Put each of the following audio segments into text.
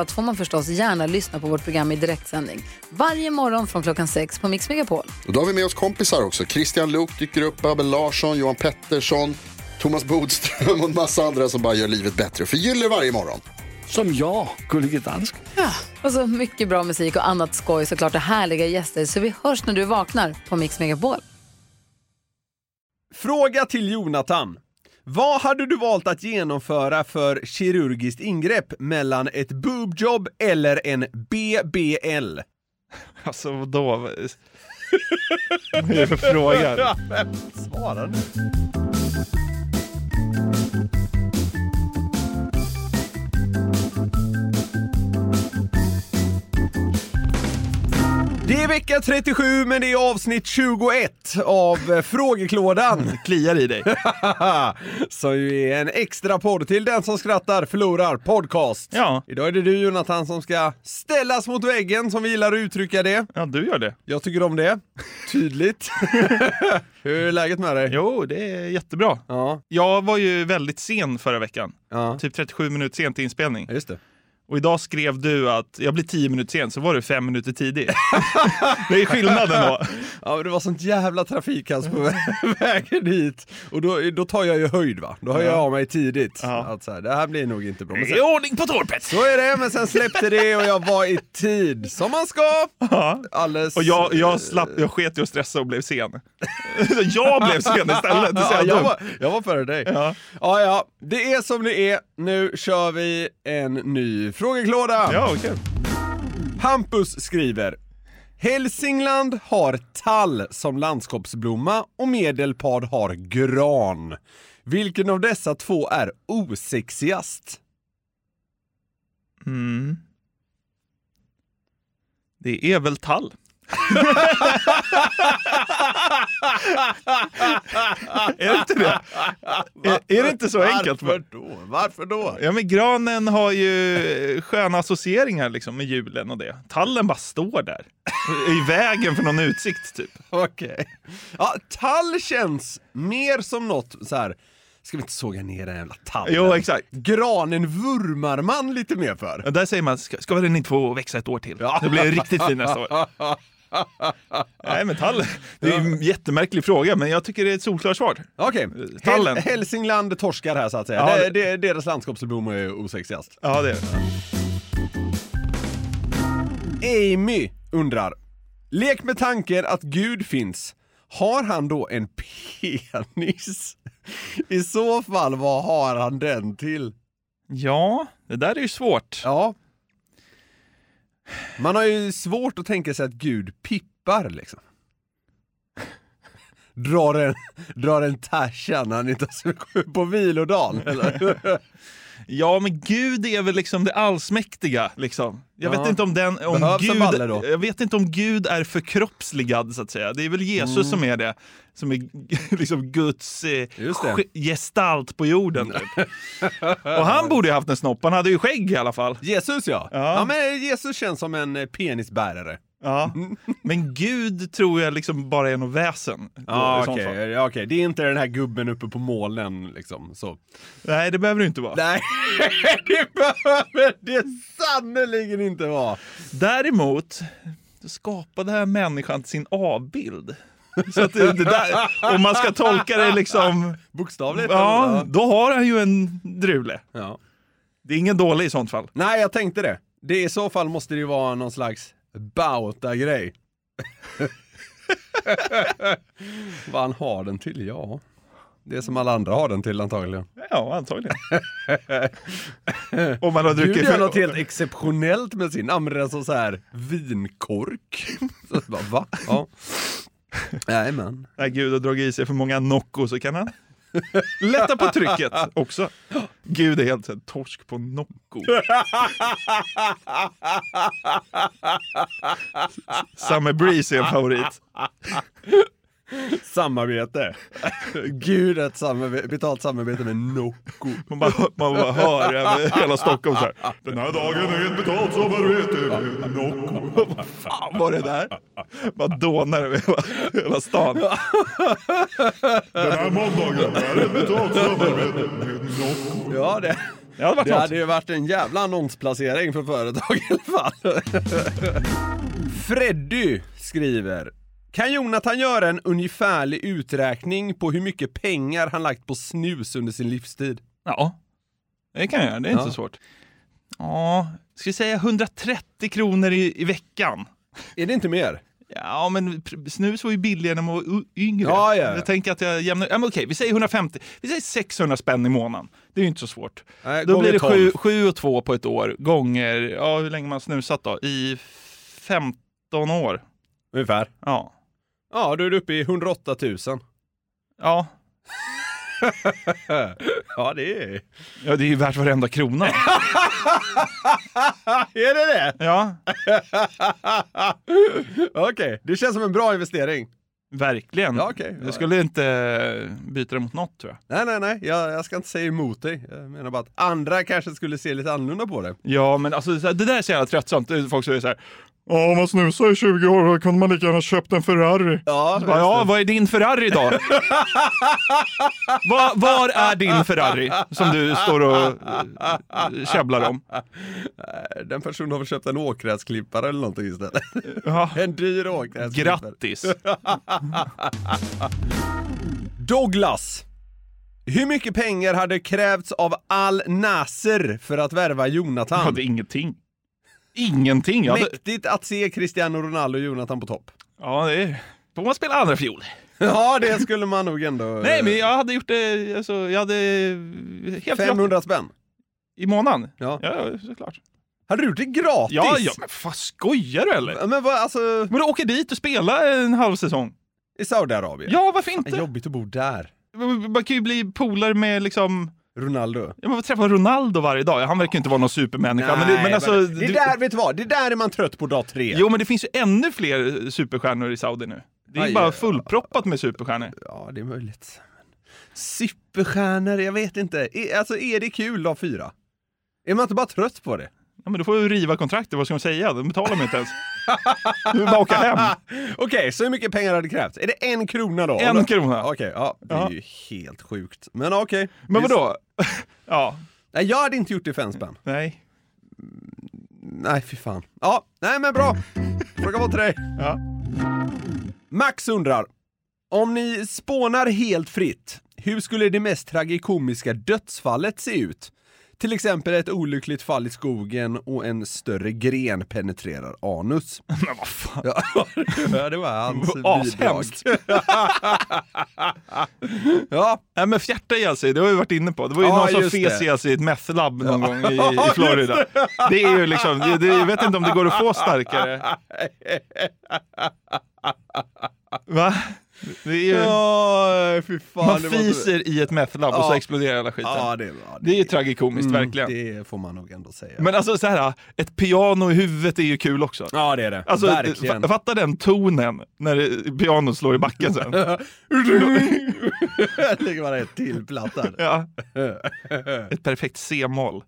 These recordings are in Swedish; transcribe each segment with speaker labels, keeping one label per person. Speaker 1: allt får man förstås gärna lyssna på vårt program i direktsändning. Varje morgon från klockan sex på Mix Megapol.
Speaker 2: Och då har vi med oss kompisar också. Christian Luuk dyker upp, Abel Larsson, Johan Pettersson, Thomas Bodström och en massa andra som bara gör livet bättre och förgyller varje morgon.
Speaker 3: Som jag, Gullige Dansken.
Speaker 1: Och så mycket bra musik och annat skoj såklart och härliga gäster. Så vi hörs när du vaknar på Mix Megapol.
Speaker 4: Fråga till Jonathan. Vad hade du valt att genomföra för kirurgiskt ingrepp mellan ett boobjob eller en BBL?
Speaker 5: Alltså vadå? Vad är det för fråga?
Speaker 4: Svara nu. Det är vecka 37 men det är avsnitt 21 av eh, Frågeklådan.
Speaker 5: Kliar i dig.
Speaker 4: som ju är en extra podd till den som skrattar förlorar podcast.
Speaker 5: Ja.
Speaker 4: Idag är det du Jonathan som ska ställas mot väggen som vi gillar att uttrycka det.
Speaker 5: Ja, du gör det.
Speaker 4: Jag tycker om det. Tydligt. Hur är läget med dig?
Speaker 5: Jo, det är jättebra.
Speaker 4: Ja,
Speaker 5: Jag var ju väldigt sen förra veckan.
Speaker 4: ja.
Speaker 5: Typ 37 minuter sen till inspelning.
Speaker 4: Ja, Just det.
Speaker 5: Och idag skrev du att jag blir 10 minuter sen, så var du 5 minuter tidig. det är skillnaden då.
Speaker 4: Ja, men det var sånt jävla trafikkaos på vä- vägen hit. Och då, då tar jag ju höjd va? Då hör jag av mig tidigt.
Speaker 5: Ja.
Speaker 4: Att så här, det här blir nog inte bra. Men
Speaker 5: Det
Speaker 4: sen,
Speaker 5: är ordning på torpet!
Speaker 4: så är det, men sen släppte det och jag var i tid. Som man ska!
Speaker 5: Ja.
Speaker 4: Alldeles...
Speaker 5: Och jag, jag, slapp, jag sket i att stressa och blev sen. Så jag blev sen istället. Det är så
Speaker 4: Ja,
Speaker 5: jävla
Speaker 4: jag,
Speaker 5: dumt.
Speaker 4: var, jag var före dig.
Speaker 5: Ja.
Speaker 4: Ja, ja, det är som det är. Nu kör vi en ny frågeklåda.
Speaker 5: Ja, okej.
Speaker 4: Hampus skriver. Hälsingland har tall som landskapsblomma och Medelpad har gran. Vilken av dessa två är osexigast?
Speaker 5: Mm. Det är väl tall? är det inte det? Är, är det inte så enkelt?
Speaker 4: Varför då? Varför då?
Speaker 5: Ja, men granen har ju sköna associeringar liksom, med julen och det. Tallen bara står där. I vägen för någon utsikt, typ.
Speaker 4: Okej. Ja, tall känns mer som något så här. Ska vi inte såga ner den jävla tallen?
Speaker 5: Jo, exakt.
Speaker 4: Granen vurmar man lite mer för.
Speaker 5: Ja, där säger man, ska, ska den inte få växa ett år till? Det blir riktigt fin nästa år. Nej, men tallen. Det är ju en jättemärklig fråga, men jag tycker det är ett solklart svar.
Speaker 4: Okej,
Speaker 5: Tallen.
Speaker 4: Häl- Hälsingland torskar här så att säga.
Speaker 5: Ja,
Speaker 4: det, det, deras landskapsblomma är osexigast.
Speaker 5: Ja, det är det.
Speaker 4: Amy undrar, lek med tanken att Gud finns. Har han då en penis? I så fall, vad har han den till?
Speaker 5: Ja, det där är ju svårt.
Speaker 4: Ja. Man har ju svårt att tänka sig att Gud pippar liksom. Drar en, drar en tärsa när han inte har suttit på vilodagen, eller?
Speaker 5: Ja, men Gud är väl liksom det allsmäktiga. Liksom. Jag,
Speaker 4: Ja.
Speaker 5: vet inte om den, om
Speaker 4: Behövs en balle
Speaker 5: Gud,
Speaker 4: då?
Speaker 5: jag vet inte om Gud är förkroppsligad, så att säga. Det är väl Jesus
Speaker 4: Mm.
Speaker 5: som är det, som är liksom Guds eh,
Speaker 4: Just det.
Speaker 5: ske- gestalt på jorden. Typ. Och han borde ju haft en snopp, han hade ju skägg i alla fall.
Speaker 4: Jesus ja. ja!
Speaker 5: Ja.
Speaker 4: men Jesus känns som en eh, penisbärare.
Speaker 5: Ja. Men Gud tror jag liksom bara är något väsen. i sånt fall.
Speaker 4: ja, Ah, okej. Det är inte den här gubben uppe på molnen liksom. Så.
Speaker 5: Nej, det behöver det inte vara.
Speaker 4: Nej, det behöver det sannerligen inte vara.
Speaker 5: Däremot så skapade här människan sin avbild. Så att det, det där, om man ska tolka det liksom,
Speaker 4: Bokstavligt.
Speaker 5: ja, då har han ju en drule.
Speaker 4: ja.
Speaker 5: Det är ingen dålig i sånt fall.
Speaker 4: Nej, jag tänkte det. det. I så fall måste det ju vara någon slags bauta-grej. Vad han har den till, ja. Det är som alla andra har den till antagligen.
Speaker 5: Ja, antagligen. Om man har
Speaker 4: Du
Speaker 5: druckit
Speaker 4: gör något helt exceptionellt med sin, använder den som så här vinkork. Så bara, va? Ja. Nej men.
Speaker 5: Nej, Gud har dragit i sig för många Nocco så kan han Lätta på trycket också. Gud, det är helt en torsk på Nocco. Summer Breeze är en favorit.
Speaker 4: Samarbete. Gud, ett samarbete, betalt samarbete med Nocco.
Speaker 5: Man bara, man bara hör över hela Stockholm så här. Den här dagen är ett betalt samarbete med Nocco. Vad fan var det där? Man dånar över hela, hela stan. Den här måndagen är ett betalt samarbete med Nocco.
Speaker 4: Ja, det,
Speaker 5: Det hade varit
Speaker 4: det
Speaker 5: något.
Speaker 4: hade ju varit en jävla annonsplacering för företag i alla fall. Freddy skriver. Kan Jonathan göra en ungefärlig uträkning på hur mycket pengar han lagt på snus under sin livstid?
Speaker 5: Ja, det kan jag göra. Det är inte
Speaker 4: Ja.
Speaker 5: så svårt. Ja, ska vi säga 130 kronor i, i veckan?
Speaker 4: Är det inte mer?
Speaker 5: Ja, men pr- snus var ju billigare när man var u- yngre.
Speaker 4: Ja, ja, ja.
Speaker 5: Jag tänker att jag jämnar... Ja, men okej, vi säger 150. Vi säger 600 spänn i månaden. Det är ju inte så svårt.
Speaker 4: Nej,
Speaker 5: Då
Speaker 4: gånger
Speaker 5: blir det
Speaker 4: 12.
Speaker 5: 7, sju och 2 på ett år gånger, ja, hur länge man snusat då? I 15 år.
Speaker 4: Ungefär.
Speaker 5: Ja.
Speaker 4: Ja, då är du uppe i 108 000.
Speaker 5: Ja,
Speaker 4: Ja, det är...
Speaker 5: ja det är ju värt varenda krona.
Speaker 4: Är det det?
Speaker 5: Ja,
Speaker 4: Okej, det känns som en bra investering.
Speaker 5: verkligen.
Speaker 4: Ja, okej. Ja,
Speaker 5: Jag skulle inte byta det mot något tror jag.
Speaker 4: Nej, nej, nej. Jag, jag ska inte säga emot dig. Jag menar bara att andra kanske skulle se lite annorlunda på det.
Speaker 5: Ja, men alltså, så här, det där är så jävla tröttsamt. Det är Folk säger så här. Ja, om man snusar i 20 år då kunde man lika gärna köpt en Ferrari.
Speaker 4: Ja,
Speaker 5: Så bara, ja, vad är din Ferrari då? var, var är din Ferrari som du står och eh, käbblar om?
Speaker 4: Eh, den personen har väl köpt en åkgräsklippare eller någonting istället.
Speaker 5: Ja,
Speaker 4: En dyr åkgräsklippare.
Speaker 5: grattis.
Speaker 4: Douglas! Hur mycket pengar hade krävts av Al Nasser för att värva
Speaker 5: Jag
Speaker 4: Jonathan?
Speaker 5: hade ingenting. Ingenting. Jag hade,
Speaker 4: Mäktigt att se Cristiano Ronaldo och Jonathan på topp.
Speaker 5: ja, det är, får man spela andra fiol?
Speaker 4: Ja, det skulle man nog ändå...
Speaker 5: Nej, men jag hade gjort det, alltså, jag hade eh, helt gratis
Speaker 4: 500 eh, spänn.
Speaker 5: i månaden.
Speaker 4: Ja.
Speaker 5: ja såklart.
Speaker 4: Hade du gjort det gratis?
Speaker 5: Ja, ja, men fan skojar du eller?
Speaker 4: Men vad, alltså,
Speaker 5: Men då åker dit och spela en halv säsong.
Speaker 4: i Saudiarabien?
Speaker 5: Ja, varför
Speaker 4: Det
Speaker 5: inte?
Speaker 4: är jobbigt att bo där.
Speaker 5: Man kan ju bli polare med liksom...
Speaker 4: Ronaldo.
Speaker 5: Ja, men träffa Ronaldo varje dag. Han verkar ju inte vara någon supermänniska. men det, men alltså,
Speaker 4: det är där, vet du vad? Det där är man trött på dag tre.
Speaker 5: Jo, men det finns ju ännu fler superstjärnor i Saudi nu. Det är ju
Speaker 4: Aj,
Speaker 5: bara
Speaker 4: ja.
Speaker 5: fullproppat med superstjärnor.
Speaker 4: Ja, det är möjligt. Superstjärnor, jag vet inte. Är, alltså, är det kul dag fyra? Är man inte bara trött på det?
Speaker 5: Ja, men då får du riva kontraktet. Vad ska de säga? De betalar mig inte ens. Du vill bara åka hem.
Speaker 4: Okej, så hur mycket pengar hade krävts? Är det en krona då?
Speaker 5: En krona.
Speaker 4: Okej, ja. Det är
Speaker 5: Ja.
Speaker 4: ju helt sjukt. Men okej.
Speaker 5: Men
Speaker 4: Visst.
Speaker 5: vadå? Ja,
Speaker 4: Nej, jag hade inte gjort det för en spänn.
Speaker 5: nej.
Speaker 4: Nej, fy fan. Ja, nej men bra. Fråga var till dig.
Speaker 5: Ja.
Speaker 4: Max undrar, om ni spånar helt fritt, hur skulle det mest tragikomiska dödsfallet se ut? Till exempel ett olyckligt fall i skogen och en större gren penetrerar anus.
Speaker 5: Men vad fan.
Speaker 4: Ja, det var hans bidrag.
Speaker 5: Ashemskt.
Speaker 4: Ja,
Speaker 5: Nej, men fjärta ihjäl sig, det har vi varit inne på. Det var ju
Speaker 4: Ja,
Speaker 5: någon som
Speaker 4: just
Speaker 5: fes
Speaker 4: det.
Speaker 5: ihjäl sig i ett methlabb någon gång i, i Florida. Det är ju liksom, det, det, jag vet inte om det går att få starkare. Va? Det är ju,
Speaker 4: ja fy fan.
Speaker 5: man
Speaker 4: det var-
Speaker 5: fiser i ett methlabb och så
Speaker 4: Ja.
Speaker 5: exploderar hela skiten.
Speaker 4: Ja, det, ja,
Speaker 5: Det är ju tragikomiskt, verkligen.
Speaker 4: det får man nog ändå säga.
Speaker 5: Men alltså så här, ett piano i huvudet är ju kul också.
Speaker 4: ja, det är det.
Speaker 5: Alltså,
Speaker 4: Verkligen.
Speaker 5: fa- fatta den tonen när det- pianot slår i backen sen.
Speaker 4: Lägger bara ett till platta. där.
Speaker 5: Ja. Ett perfekt C-moll.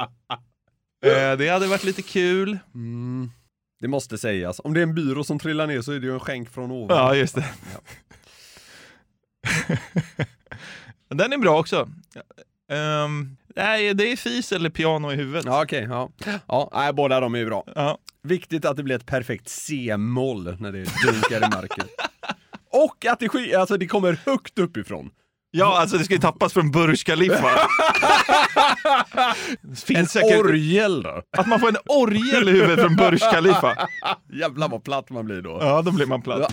Speaker 5: Eh, Det hade varit lite kul.
Speaker 4: Det måste sägas. Om det är en byrå som trillar ner så är det ju en skänk från ovan.
Speaker 5: Ja, just det. Den är bra också. Ehm, nej, det är fis eller piano i huvudet.
Speaker 4: Ja, okej. ja. Ja, nej, båda de är ju bra.
Speaker 5: Ja.
Speaker 4: Viktigt att det blir ett perfekt C-moll när det dunkar i marken. Och att det, sk- alltså, det kommer högt uppifrån.
Speaker 5: ja, alltså det ska ju tappas från Burj Khalifa. Finns en
Speaker 4: Orgel då?
Speaker 5: Att man får en orgel i huvudet från Burj Khalifa.
Speaker 4: Jävlar vad platt man blir då.
Speaker 5: Ja, då blir man platt.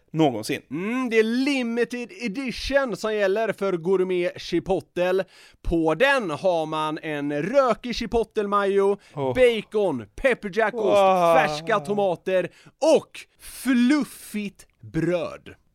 Speaker 6: någonsin.
Speaker 4: Mm, det är limited edition som gäller för gourmet chipotle. På den har man en rökig chipotle-majo,
Speaker 6: Oh.
Speaker 4: bacon, pepperjackost,
Speaker 6: Wow.
Speaker 4: färska tomater och fluffigt bröd.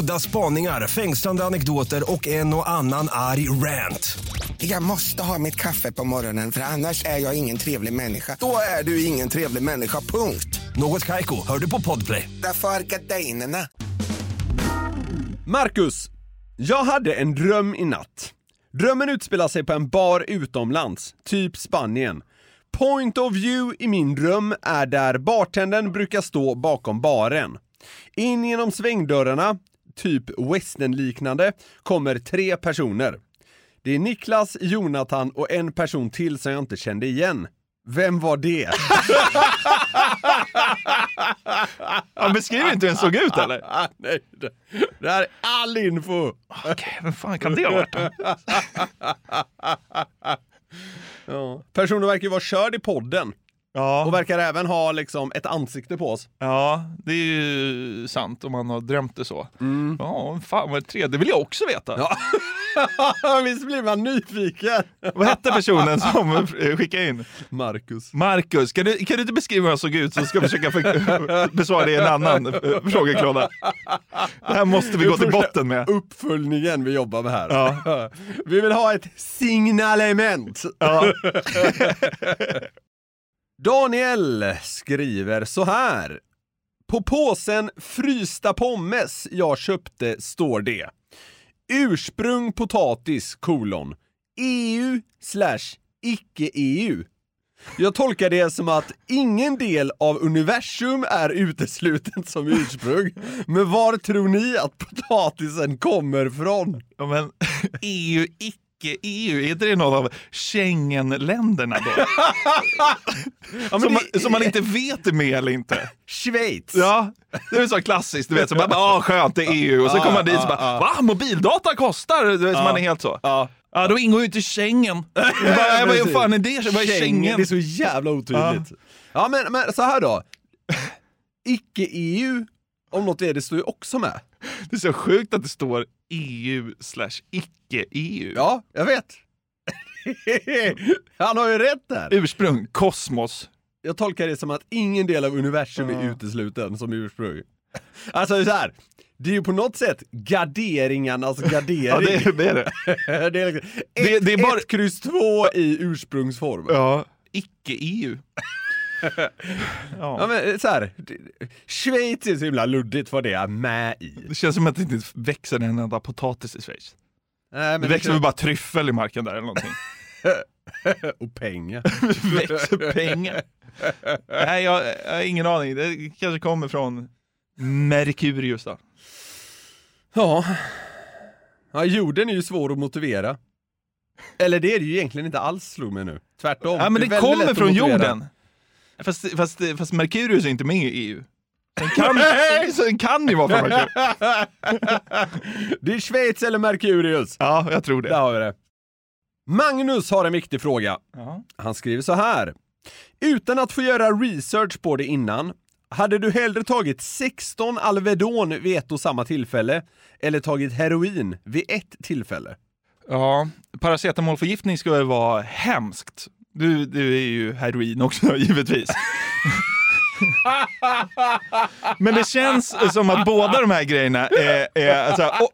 Speaker 7: Udda spaningar, fängslande anekdoter och en och annan arg rant.
Speaker 8: Jag måste ha mitt kaffe på morgonen för annars är jag ingen trevlig människa. Då är du ingen trevlig människa, punkt.
Speaker 7: Något Kaiko, hör du på Podplay.
Speaker 8: Därför är gardinerna.
Speaker 4: Marcus, jag hade en dröm i natt. Drömmen utspelar sig på en bar utomlands, typ Spanien. Point of view i min dröm är där bartendern brukar stå bakom baren. In genom svängdörrarna, typ westernliknande, kommer tre personer. Det är Niklas, Jonathan och en person till som jag inte kände igen. Vem var det?
Speaker 5: Han beskriver inte hur den såg ut eller?
Speaker 4: ah, nej, det, det här är all info!
Speaker 5: Okej, vem fan kan det ha varit då?
Speaker 4: Personen verkar ju vara körd i podden. Och
Speaker 5: Ja,
Speaker 4: verkar även ha liksom ett ansikte på oss.
Speaker 5: ja, det är ju sant om man har drömt det så. Ja, vem fan var det tre? Det vill jag också veta.
Speaker 4: Visst blir man nyfiken?
Speaker 5: Vad hette personen som eh, skickade in?
Speaker 4: Marcus.
Speaker 5: Marcus, kan du, kan du inte beskriva hur han såg ut så ska vi försöka för, besvara det i en annan eh, frågeklåda. Det här måste vi gå till botten med.
Speaker 4: Uppföljningen vi jobbar med här.
Speaker 5: Ja.
Speaker 4: Vi vill ha ett signalement.
Speaker 5: Ja.
Speaker 4: Daniel skriver så här. På påsen frysta pommes jag köpte står det. Ursprung potatis kolon. EU slash icke-EU. Jag tolkar det som att ingen del av universum är utesluten som ursprung. Men var tror ni att potatisen kommer från?
Speaker 5: Ja, men EU, E icke EU, är inte det någon av Schengenländerna då? som, man, som man inte vet är med eller inte.
Speaker 4: Schweiz!
Speaker 5: Ja, det är så klassiskt, du vet, så man bara, ah, skönt, det är EU, och så kommer man dit och så bara, va, mobildata kostar? Du vet, så man är helt så. Ja. Ja, då ingår ju inte Schengen. Vad vad fan är det? Vad är Schengen?
Speaker 4: Det är så jävla otydligt. Ja, men, men så här då. Icke-EU, om något är det, står ju också med.
Speaker 5: Det är så sjukt att det står EU slash E icke-EU.
Speaker 4: Ja, jag vet. Han har ju rätt där.
Speaker 5: Ursprung, kosmos.
Speaker 4: Jag tolkar det som att ingen del av universum är utesluten som ursprung. Alltså så här. det är ju på något sätt garderingarnas gardering.
Speaker 5: Ja, det, är- det är det.
Speaker 4: Det är liksom ett,
Speaker 5: Det- det är bara-
Speaker 4: ett kryss två i ursprungsform.
Speaker 5: Ja. Icke-EU.
Speaker 4: Ja, men eh, så här. det- Schweiz är så himla luddigt vad det är med i.
Speaker 5: Det känns som att det inte växer en enda potatis i Schweiz.
Speaker 4: Nej, men
Speaker 5: Det växer väl bara tryffel i marken där eller någonting.
Speaker 4: Och pengar.
Speaker 5: Det växer pengar. Nej, jag, jag har ingen aning. Det kanske kommer från Merkurius då.
Speaker 4: Ja. ja, jorden är ju svår att motivera. Eller det är det ju egentligen inte alls slog mig nu. Tvärtom.
Speaker 5: Ja, men
Speaker 4: är
Speaker 5: det
Speaker 4: väldigt lätt
Speaker 5: kommer
Speaker 4: att
Speaker 5: från
Speaker 4: motivera.
Speaker 5: jorden. Fast, fast, fast Merkurius är inte med i E EU. Den kan, så den kan ju vara från Merkurius.
Speaker 4: Det är Schweiz eller Merkurius.
Speaker 5: Ja, jag tror det.
Speaker 4: Där har vi det. Magnus har en viktig fråga. Han skriver så här. Utan att få göra research på det innan, hade du hellre tagit 16 Alvedon vid ett och samma tillfälle eller tagit heroin vid ett tillfälle?
Speaker 5: Ja, paracetamolförgiftning ska ju vara hemskt. Du, du är ju heroin också givetvis. Men det känns som att båda de här grejerna är... är alltså, och,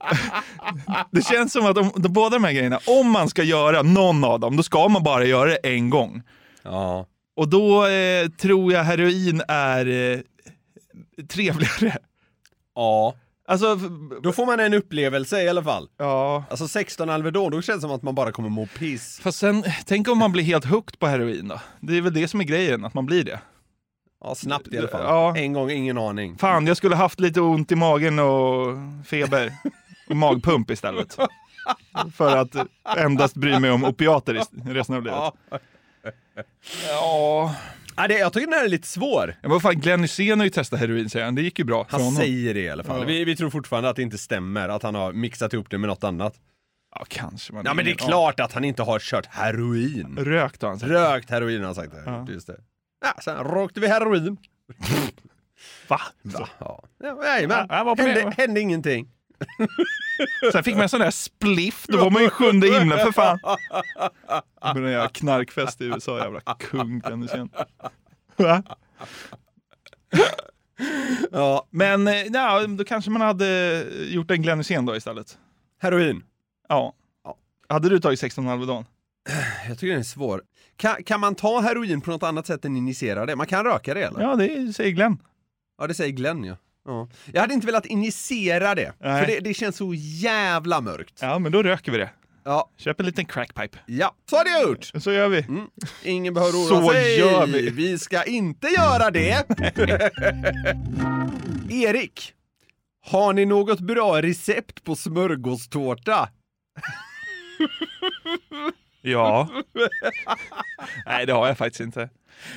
Speaker 5: det känns som att om, de, båda de här grejerna, om man ska göra någon av dem, då ska man bara göra det en gång.
Speaker 4: Ja.
Speaker 5: Och då eh, tror jag heroin är eh, trevligare.
Speaker 4: Ja.
Speaker 5: Alltså, f-
Speaker 4: Då får man en upplevelse i alla fall.
Speaker 5: ja.
Speaker 4: Alltså 16 Alvedon, då känns det som att man bara kommer må piss.
Speaker 5: Fast sen, tänk om man blir helt hooked på heroin då? Det är väl det som är grejen, att man blir det.
Speaker 4: Ja, snabbt i alla fall.
Speaker 5: Ja.
Speaker 4: En gång, ingen aning.
Speaker 5: Fan, jag skulle haft lite ont i magen och feber. Och magpump istället. För att endast bry mig om opiater i- resten av livet.
Speaker 4: Ja.
Speaker 5: Ja.
Speaker 4: Ja, det, jag tycker den här är lite svår.
Speaker 5: Jag var fan, Glenn Hysén har ju testat heroin säger han. Det gick ju bra för
Speaker 4: Han
Speaker 5: honom.
Speaker 4: säger det i alla fall.
Speaker 5: Ja.
Speaker 4: Vi, vi tror fortfarande att det inte stämmer, att han har mixat ihop det med något annat.
Speaker 5: Ja, kanske. Man
Speaker 4: Ja men det är
Speaker 5: ingen
Speaker 4: klart att han inte har kört heroin.
Speaker 5: aning. Rökt alltså. har han sagt.
Speaker 4: Rökt heroin har han sagt det. Just det. Ja, sen rökte vi heroin.
Speaker 5: Va?
Speaker 4: Va? Ja. Ja, jajamän.
Speaker 5: Ja, jag var på
Speaker 4: hände,
Speaker 5: det.
Speaker 4: hände ingenting.
Speaker 5: Sen fick man en sån där spliff, då var man ju sjunde himlen för fan. Med den jävla knarkfest i USA, jävla kung Glenn Hysén. Va?
Speaker 4: Ja,
Speaker 5: Men eh, ja, då kanske man hade gjort en Glenn Hysén då istället.
Speaker 4: heroin.
Speaker 5: Ja.
Speaker 4: Ja.
Speaker 5: Hade du tagit 16 Alvedon?
Speaker 4: Jag tycker den är svår. Kan, kan man ta heroin på något annat sätt än injicera det? Man kan röka det eller?
Speaker 5: Ja, det säger Glenn.
Speaker 4: Ja, det säger Glenn ja. ja. Jag hade inte velat injicera det,
Speaker 5: Nej.
Speaker 4: för det, det känns så jävla mörkt.
Speaker 5: Ja, men då röker vi det.
Speaker 4: Ja,
Speaker 5: Köp en liten crackpipe.
Speaker 4: ja. så hade jag gjort!
Speaker 5: Så gör vi.
Speaker 4: Mm. Ingen behöver oroa
Speaker 5: Så
Speaker 4: sig.
Speaker 5: gör vi.
Speaker 4: Vi ska inte göra det. Erik, har ni något bra recept på smörgåstårta?
Speaker 5: Ja. Nej, det har jag faktiskt inte.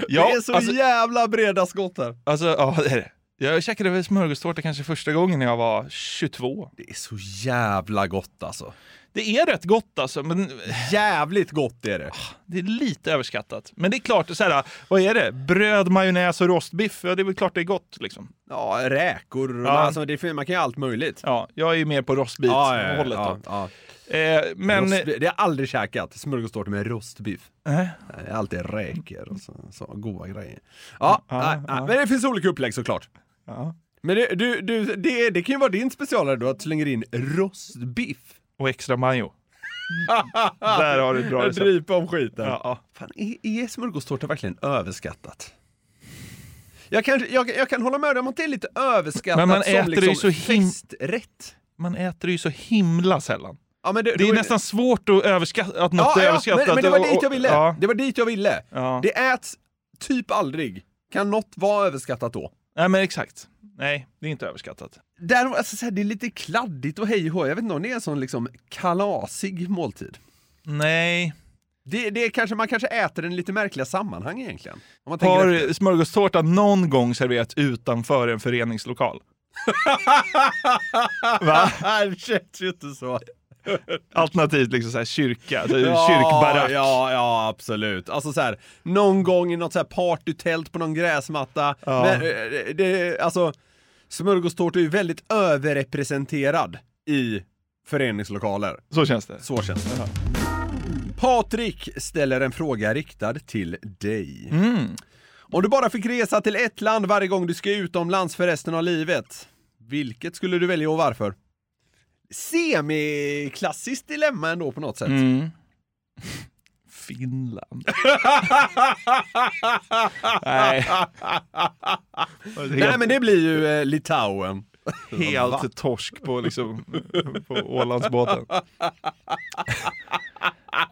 Speaker 4: det är så
Speaker 5: alltså,
Speaker 4: jävla breda skott här.
Speaker 5: alltså, ja, det är det. Jag käkade väl smörgåstårta kanske första gången när jag var 22.
Speaker 4: Det är så jävla gott alltså.
Speaker 5: Det är rätt gott alltså, men
Speaker 4: Jävligt gott är det.
Speaker 5: det är lite överskattat. Men det är klart, så här, vad är det? Bröd, majonnäs och rostbiff, ja det är väl klart det är gott liksom.
Speaker 4: Ja, räkor och
Speaker 5: Ja.
Speaker 4: alltså, det, fin- man kan ju allt möjligt.
Speaker 5: Ja, jag är ju mer på rostbit hållet
Speaker 4: ja,
Speaker 5: då.
Speaker 4: ja.
Speaker 5: Eh, men...
Speaker 4: Rostbi- det har jag aldrig käkat, smörgåstårta med rostbiff.
Speaker 5: eh,
Speaker 4: Det är alltid räkor och så, så goda grejer. Ja, nej, nej, men det finns olika upplägg såklart.
Speaker 5: Ja.
Speaker 4: Men det, du, du, det, det kan ju vara din specialare då, att du slänger in rostbiff.
Speaker 5: och extra majo. Där har du ett bra recept.
Speaker 4: Drypa om skiten.
Speaker 5: Ja, ja.
Speaker 4: Fan, är, är smörgåstårta verkligen överskattat? Jag kan, jag, jag kan hålla med dig om att det är lite överskattat
Speaker 5: Men man
Speaker 4: som
Speaker 5: äter det ju
Speaker 4: liksom
Speaker 5: så him-
Speaker 4: festrätt.
Speaker 5: Man äter ju så himla sällan.
Speaker 4: Ja, men
Speaker 5: Det
Speaker 4: då
Speaker 5: är nästan svårt att överskatta att något
Speaker 4: ja,
Speaker 5: är
Speaker 4: ja,
Speaker 5: överskattat.
Speaker 4: men, men det var
Speaker 5: och-
Speaker 4: dit jag ville.
Speaker 5: Ja,
Speaker 4: Det var dit jag ville.
Speaker 5: ja.
Speaker 4: Det äts typ aldrig. Kan något vara överskattat då?
Speaker 5: Nej men exakt. Nej, det är inte överskattat.
Speaker 4: Däremot, alltså, så här, det är lite kladdigt och hej och hå. Jag vet inte om det är en sån liksom kalasig måltid.
Speaker 5: Nej.
Speaker 4: Det, det är kanske, man kanske äter den i lite märkliga sammanhang egentligen. Om man tänker efter.
Speaker 5: Har smörgåstårta någon gång serverats utanför en föreningslokal? Va?
Speaker 4: Nej, det känns ju inte så.
Speaker 5: Alternativt liksom så här kyrka, alltså
Speaker 4: Ja,
Speaker 5: kyrkbarack.
Speaker 4: Ja, ja, absolut. Alltså så här, någon gång i något så här partytält på någon gräsmatta.
Speaker 5: Ja.
Speaker 4: Men, eh, det, alltså, smörgåstårta är ju väldigt överrepresenterad i föreningslokaler.
Speaker 5: Så känns det.
Speaker 4: Så känns det. Patrik ställer en fråga riktad till dig.
Speaker 5: Mm.
Speaker 4: Om du bara fick resa till ett land varje gång du ska utomlands för resten av livet, vilket skulle du välja och varför? Semiklassiskt dilemma ändå på något sätt.
Speaker 5: Mm. Finland.
Speaker 4: Nej
Speaker 5: Nej. Helt,
Speaker 4: men det blir ju eh, Litauen.
Speaker 5: helt torsk på, liksom, på Ålandsbåten. Nej,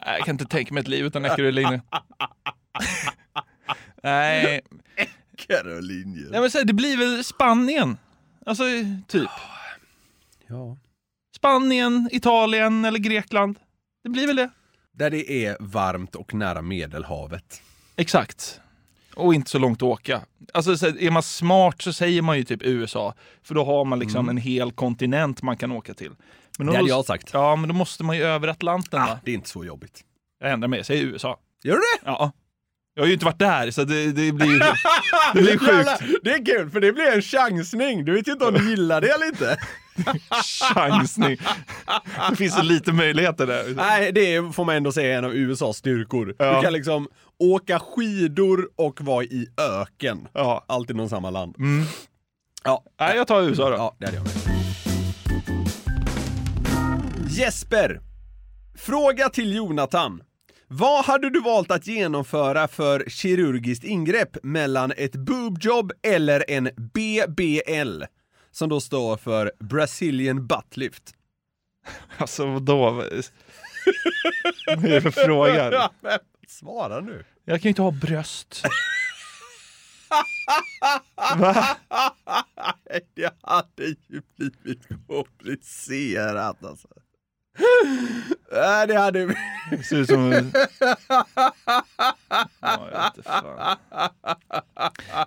Speaker 5: Jag kan inte tänka mig ett liv utan Eckerö linje. Nej.
Speaker 4: Carolinje.
Speaker 5: Nej men så här, det blir väl Spanien. Alltså typ.
Speaker 4: Ja.
Speaker 5: Spanien, Italien eller Grekland. Det blir väl det.
Speaker 4: Där det är varmt och nära medelhavet.
Speaker 5: Exakt. Och inte så långt att åka. Alltså, så här, är man smart så säger man ju typ USA, för då har man liksom en hel kontinent man kan åka till. Men
Speaker 4: Det hade jag sagt.
Speaker 5: Ja, men då måste man ju över Atlanten.
Speaker 4: Ah,
Speaker 5: Va?
Speaker 4: det är inte så jobbigt.
Speaker 5: Jag ändrar mig, jag säger USA.
Speaker 4: Gör du det?
Speaker 5: Ja. Jag har ju inte varit där, så det, det blir... Det blir sjukt.
Speaker 4: Det är kul, för det blir en chansning. Du vet ju inte om du gillar det eller inte.
Speaker 5: chansning. Det finns så lite möjligheter där.
Speaker 4: Nej, det är, får man ändå säga är en av USAs styrkor. Du
Speaker 5: Ja.
Speaker 4: kan liksom åka skidor och vara i öken.
Speaker 5: Ja.
Speaker 4: Alltid någon samma land.
Speaker 5: Ja. Nej, jag tar USA då.
Speaker 4: Ja, det hade jag med. Jesper! Fråga till Jonathan. Vad hade du valt att genomföra för kirurgiskt ingrepp mellan ett boobjob eller en BBL? Som då står för Brazilian buttlift.
Speaker 5: Alltså vadå? Vad är det för fråga?
Speaker 4: Svara nu.
Speaker 5: Jag kan ju inte ha bröst.
Speaker 4: Nej, det hade ju blivit komplicerat alltså. Nej, det hade...
Speaker 5: Det ser ut som... en- Ja, jag vet inte fan.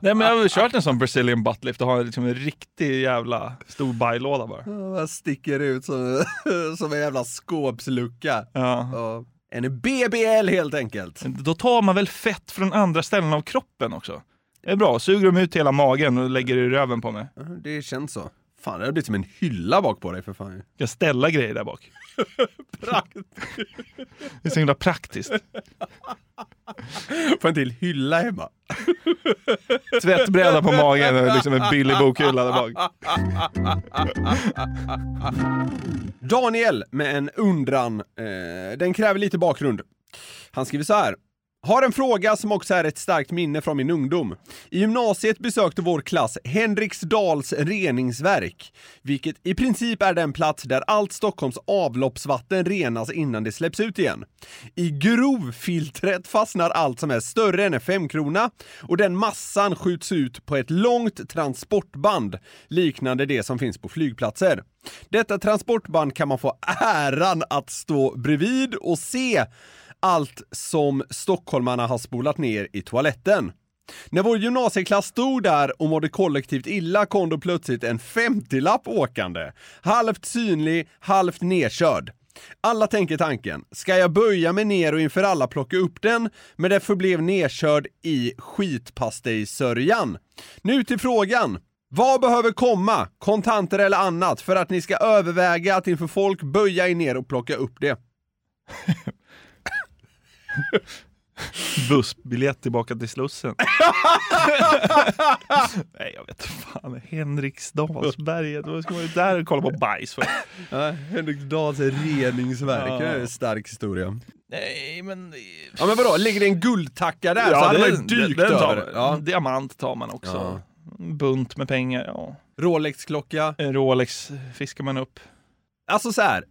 Speaker 5: Nej men jag har väl kört en sån Brazilian buttlift och har liksom en riktig jävla stor bajlåda bara.
Speaker 4: Man sticker ut som, som en jävla skåpslucka.
Speaker 5: Ja.
Speaker 4: Ja. En BBL helt enkelt.
Speaker 5: Då tar man väl fett från andra ställen av kroppen också. Det är bra, suger de ut hela magen och lägger det i röven på mig.
Speaker 4: Det känns så. Fan, det har blivit som en hylla bak på dig för fan.
Speaker 5: Jag ställa grejer där bak. Det är så himla praktiskt.
Speaker 4: Får en till hylla hemma.
Speaker 5: Tvättbräda på magen och liksom en billig bokhylla där bak.
Speaker 4: Daniel med en undran. Eh, den kräver lite bakgrund. Han skriver så här. Har en fråga som också är ett starkt minne från min ungdom. I gymnasiet besökte vår klass Henriksdals reningsverk, vilket i princip är den plats där allt Stockholms avloppsvatten renas innan det släpps ut igen. I grovfiltret fastnar allt som är större än en femkrona och den massan skjuts ut på ett långt transportband liknande det som finns på flygplatser. Detta transportband kan man få äran att stå bredvid och se allt som stockholmarna har spolat ner i toaletten. När vår gymnasieklass stod där och mådde kollektivt illa kom då plötsligt en 50-lapp åkande. Halvt synlig, halvt nedkörd. Alla tänker tanken, ska jag böja mig ner och inför alla plocka upp den? Men det förblev nedkörd i skitpastejsörjan. Nu till frågan. Vad behöver komma, kontanter eller annat, för att ni ska överväga att inför folk böja er ner och plocka upp det?
Speaker 5: Bussbiljett tillbaka till Slussen. Nej, jag vet fan. Henriksdalsberget. Vad ska man ju där och kolla på bajs för?
Speaker 4: Ja, Henrik Dahls reningsverk, det är en stark historia.
Speaker 5: Nej, men...
Speaker 4: Ja men vadå, ligger det en guldtacka där så hade man ju dykt
Speaker 5: tar,
Speaker 4: över. Ja.
Speaker 5: En diamant tar man också. En bunt med pengar, ja.
Speaker 4: Rolexklocka.
Speaker 5: En Rolex fiskar man upp.
Speaker 4: Alltså så här.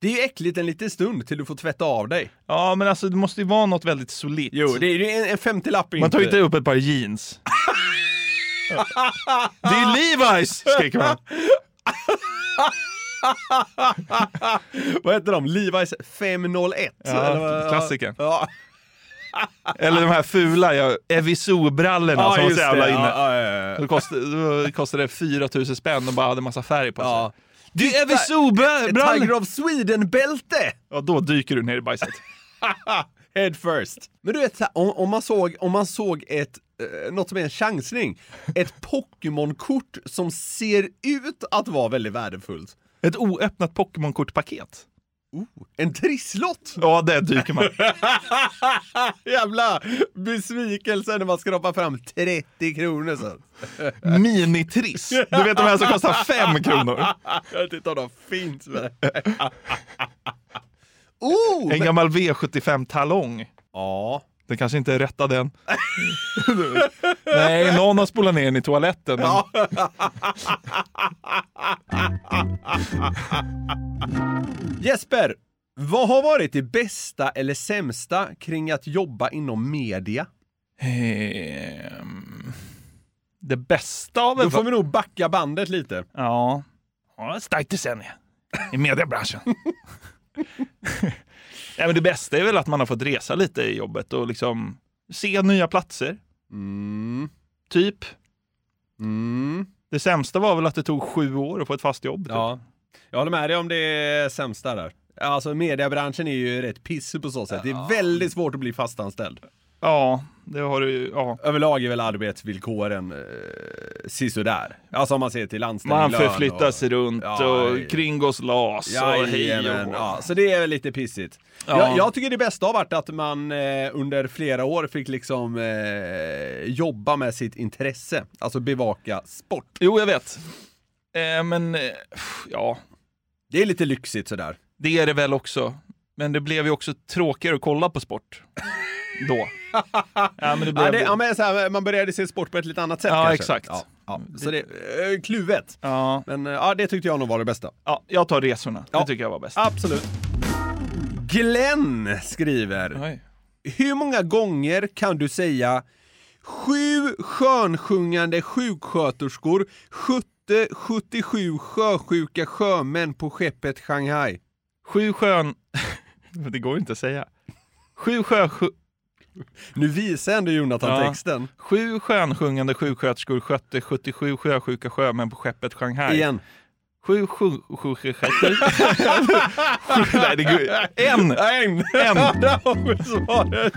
Speaker 4: det är ju äckligt en liten stund till du får tvätta av dig.
Speaker 5: Ja, men alltså det måste ju vara något väldigt solitt.
Speaker 4: Jo, det är ju en, en 50-lapp
Speaker 5: man tar ju inte upp ett par jeans. det är ju Levi's! skriker man.
Speaker 4: Vad heter de? Levi's 501?
Speaker 5: Ja,
Speaker 4: Eller vad-
Speaker 5: klassikern.
Speaker 4: Ja,
Speaker 5: Eller de här fula ja, Eviso-brallorna
Speaker 4: ja
Speaker 5: som var
Speaker 4: just
Speaker 5: så
Speaker 4: det.
Speaker 5: jävla inne.
Speaker 4: Ja, ja, ja, ja.
Speaker 5: Då kostade, då kostade det 4 000 spänn och bara hade massa färg på sig.
Speaker 4: Ja.
Speaker 5: Det är Eviso-brallor!
Speaker 4: Tiger of Sweden-bälte!
Speaker 5: Ja, då dyker du ner i bajset.
Speaker 4: Head first. Men du vet, så här, om, om, man såg, om man såg ett, eh, något som är en chansning, ett Pokémon-kort som ser ut att vara väldigt värdefullt.
Speaker 5: Ett oöppnat Pokémon-kortpaket.
Speaker 4: En trisslott!
Speaker 5: Ja, det dyker man.
Speaker 4: Jävla besvikelse när man skrapar fram 30 kronor sen.
Speaker 5: Minitriss. Du vet de här som kostar 5 kronor.
Speaker 4: Jag vet inte om de finns med det. oh!
Speaker 5: En gammal V75-talong.
Speaker 4: Ja.
Speaker 5: Den kanske inte är rättad än. Nej, någon har spolat ner den i toaletten. Men...
Speaker 4: Jesper, vad har varit det bästa eller sämsta kring att jobba inom media?
Speaker 5: Ehm, Det bästa av
Speaker 4: Då får vi nog backa bandet lite.
Speaker 5: Ja. ja ett starkt decennium i mediebranschen. Nej, men det bästa är väl att man har fått resa lite i jobbet och liksom se nya platser,
Speaker 4: Mm.
Speaker 5: typ.
Speaker 4: Mm.
Speaker 5: Det sämsta var väl att det tog sju år att få ett fast jobb. Typ.
Speaker 4: Ja. Jag håller med dig om det sämsta där. Alltså mediebranschen är ju rätt pissig på så sätt. Det är väldigt svårt att bli fastanställd.
Speaker 5: Ja, det har du ju- ja.
Speaker 4: Överlag är väl arbetsvillkoren eh, sisådär. Alltså om man ser till anställning,
Speaker 5: Man
Speaker 4: lön
Speaker 5: förflyttar sig runt
Speaker 4: Ja,
Speaker 5: och kringgås las och hej och
Speaker 4: Jajamän, ja, så det är väl lite pissigt.
Speaker 5: Ja.
Speaker 4: Jag, jag tycker det bästa har varit att man eh, under flera år fick liksom eh, jobba med sitt intresse, alltså bevaka sport.
Speaker 5: Jo, jag vet. Eh, men eh, pff, ja,
Speaker 4: Det är lite lyxigt sådär.
Speaker 5: det är det väl också. Men det blev ju också tråkigare att kolla på sport. Då. Ja, men det blev...
Speaker 4: Ja, det, ja, men så här, man började se sport på ett lite annat sätt
Speaker 5: Ja,
Speaker 4: kanske.
Speaker 5: exakt. Mm.
Speaker 4: Ja, ja. Så det är eh, kluvet.
Speaker 5: ja,
Speaker 4: Men eh, ja, det tyckte jag nog var det bästa.
Speaker 5: ja, jag tar resorna.
Speaker 4: Ja.
Speaker 5: Det tycker jag var bäst.
Speaker 4: Absolut. Glenn skriver.
Speaker 5: Oj.
Speaker 4: Hur många gånger kan du säga sju skönsjungande sjuksköterskor skötte 77 sjösjuka sjömän på skeppet Shanghai?
Speaker 5: Sju sjön... det går ju inte att säga. Sju sjö... sju-
Speaker 4: Nu visar ändå Jonathan
Speaker 5: Ja.
Speaker 4: texten.
Speaker 5: Sju skönsjungande sjuksköterskor skötte 77 sjösjuka sjömän på skeppet Shanghai.
Speaker 4: Igen.
Speaker 5: Sju sju sju sju sju sju. Nej, det går En!
Speaker 4: En!
Speaker 5: En!
Speaker 4: Där har vi svaret!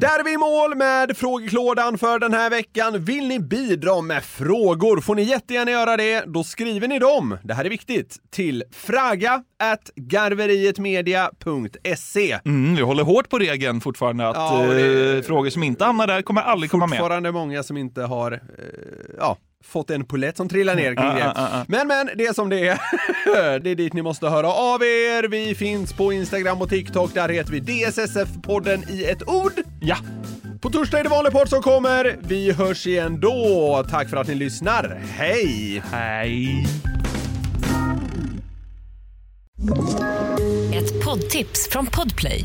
Speaker 4: Där är vi i mål med frågeklådan för den här veckan. Vill ni bidra med frågor får ni jättegärna göra det. Då skriver ni dem, det här är viktigt, till fraga at garverietmedia.se.
Speaker 5: Mm, vi håller hårt på regeln fortfarande att
Speaker 4: Ja, och det-
Speaker 5: eh, frågor som inte hamnar där kommer aldrig komma med.
Speaker 4: Fortfarande många som inte har eh, ja, fått en polett som trillar ner kring
Speaker 5: Ah,
Speaker 4: det.
Speaker 5: ah, ah, ah.
Speaker 4: Men men, det är som det är. det är dit ni måste höra av er. Vi finns på Instagram och TikTok. Där heter vi DSSF-podden i ett ord.
Speaker 5: Ja,
Speaker 4: På torsdag är det vanlig podd som kommer. Vi hörs igen då. Tack för att ni lyssnar. Hej!
Speaker 5: hej.
Speaker 9: Ett poddtips från Podplay.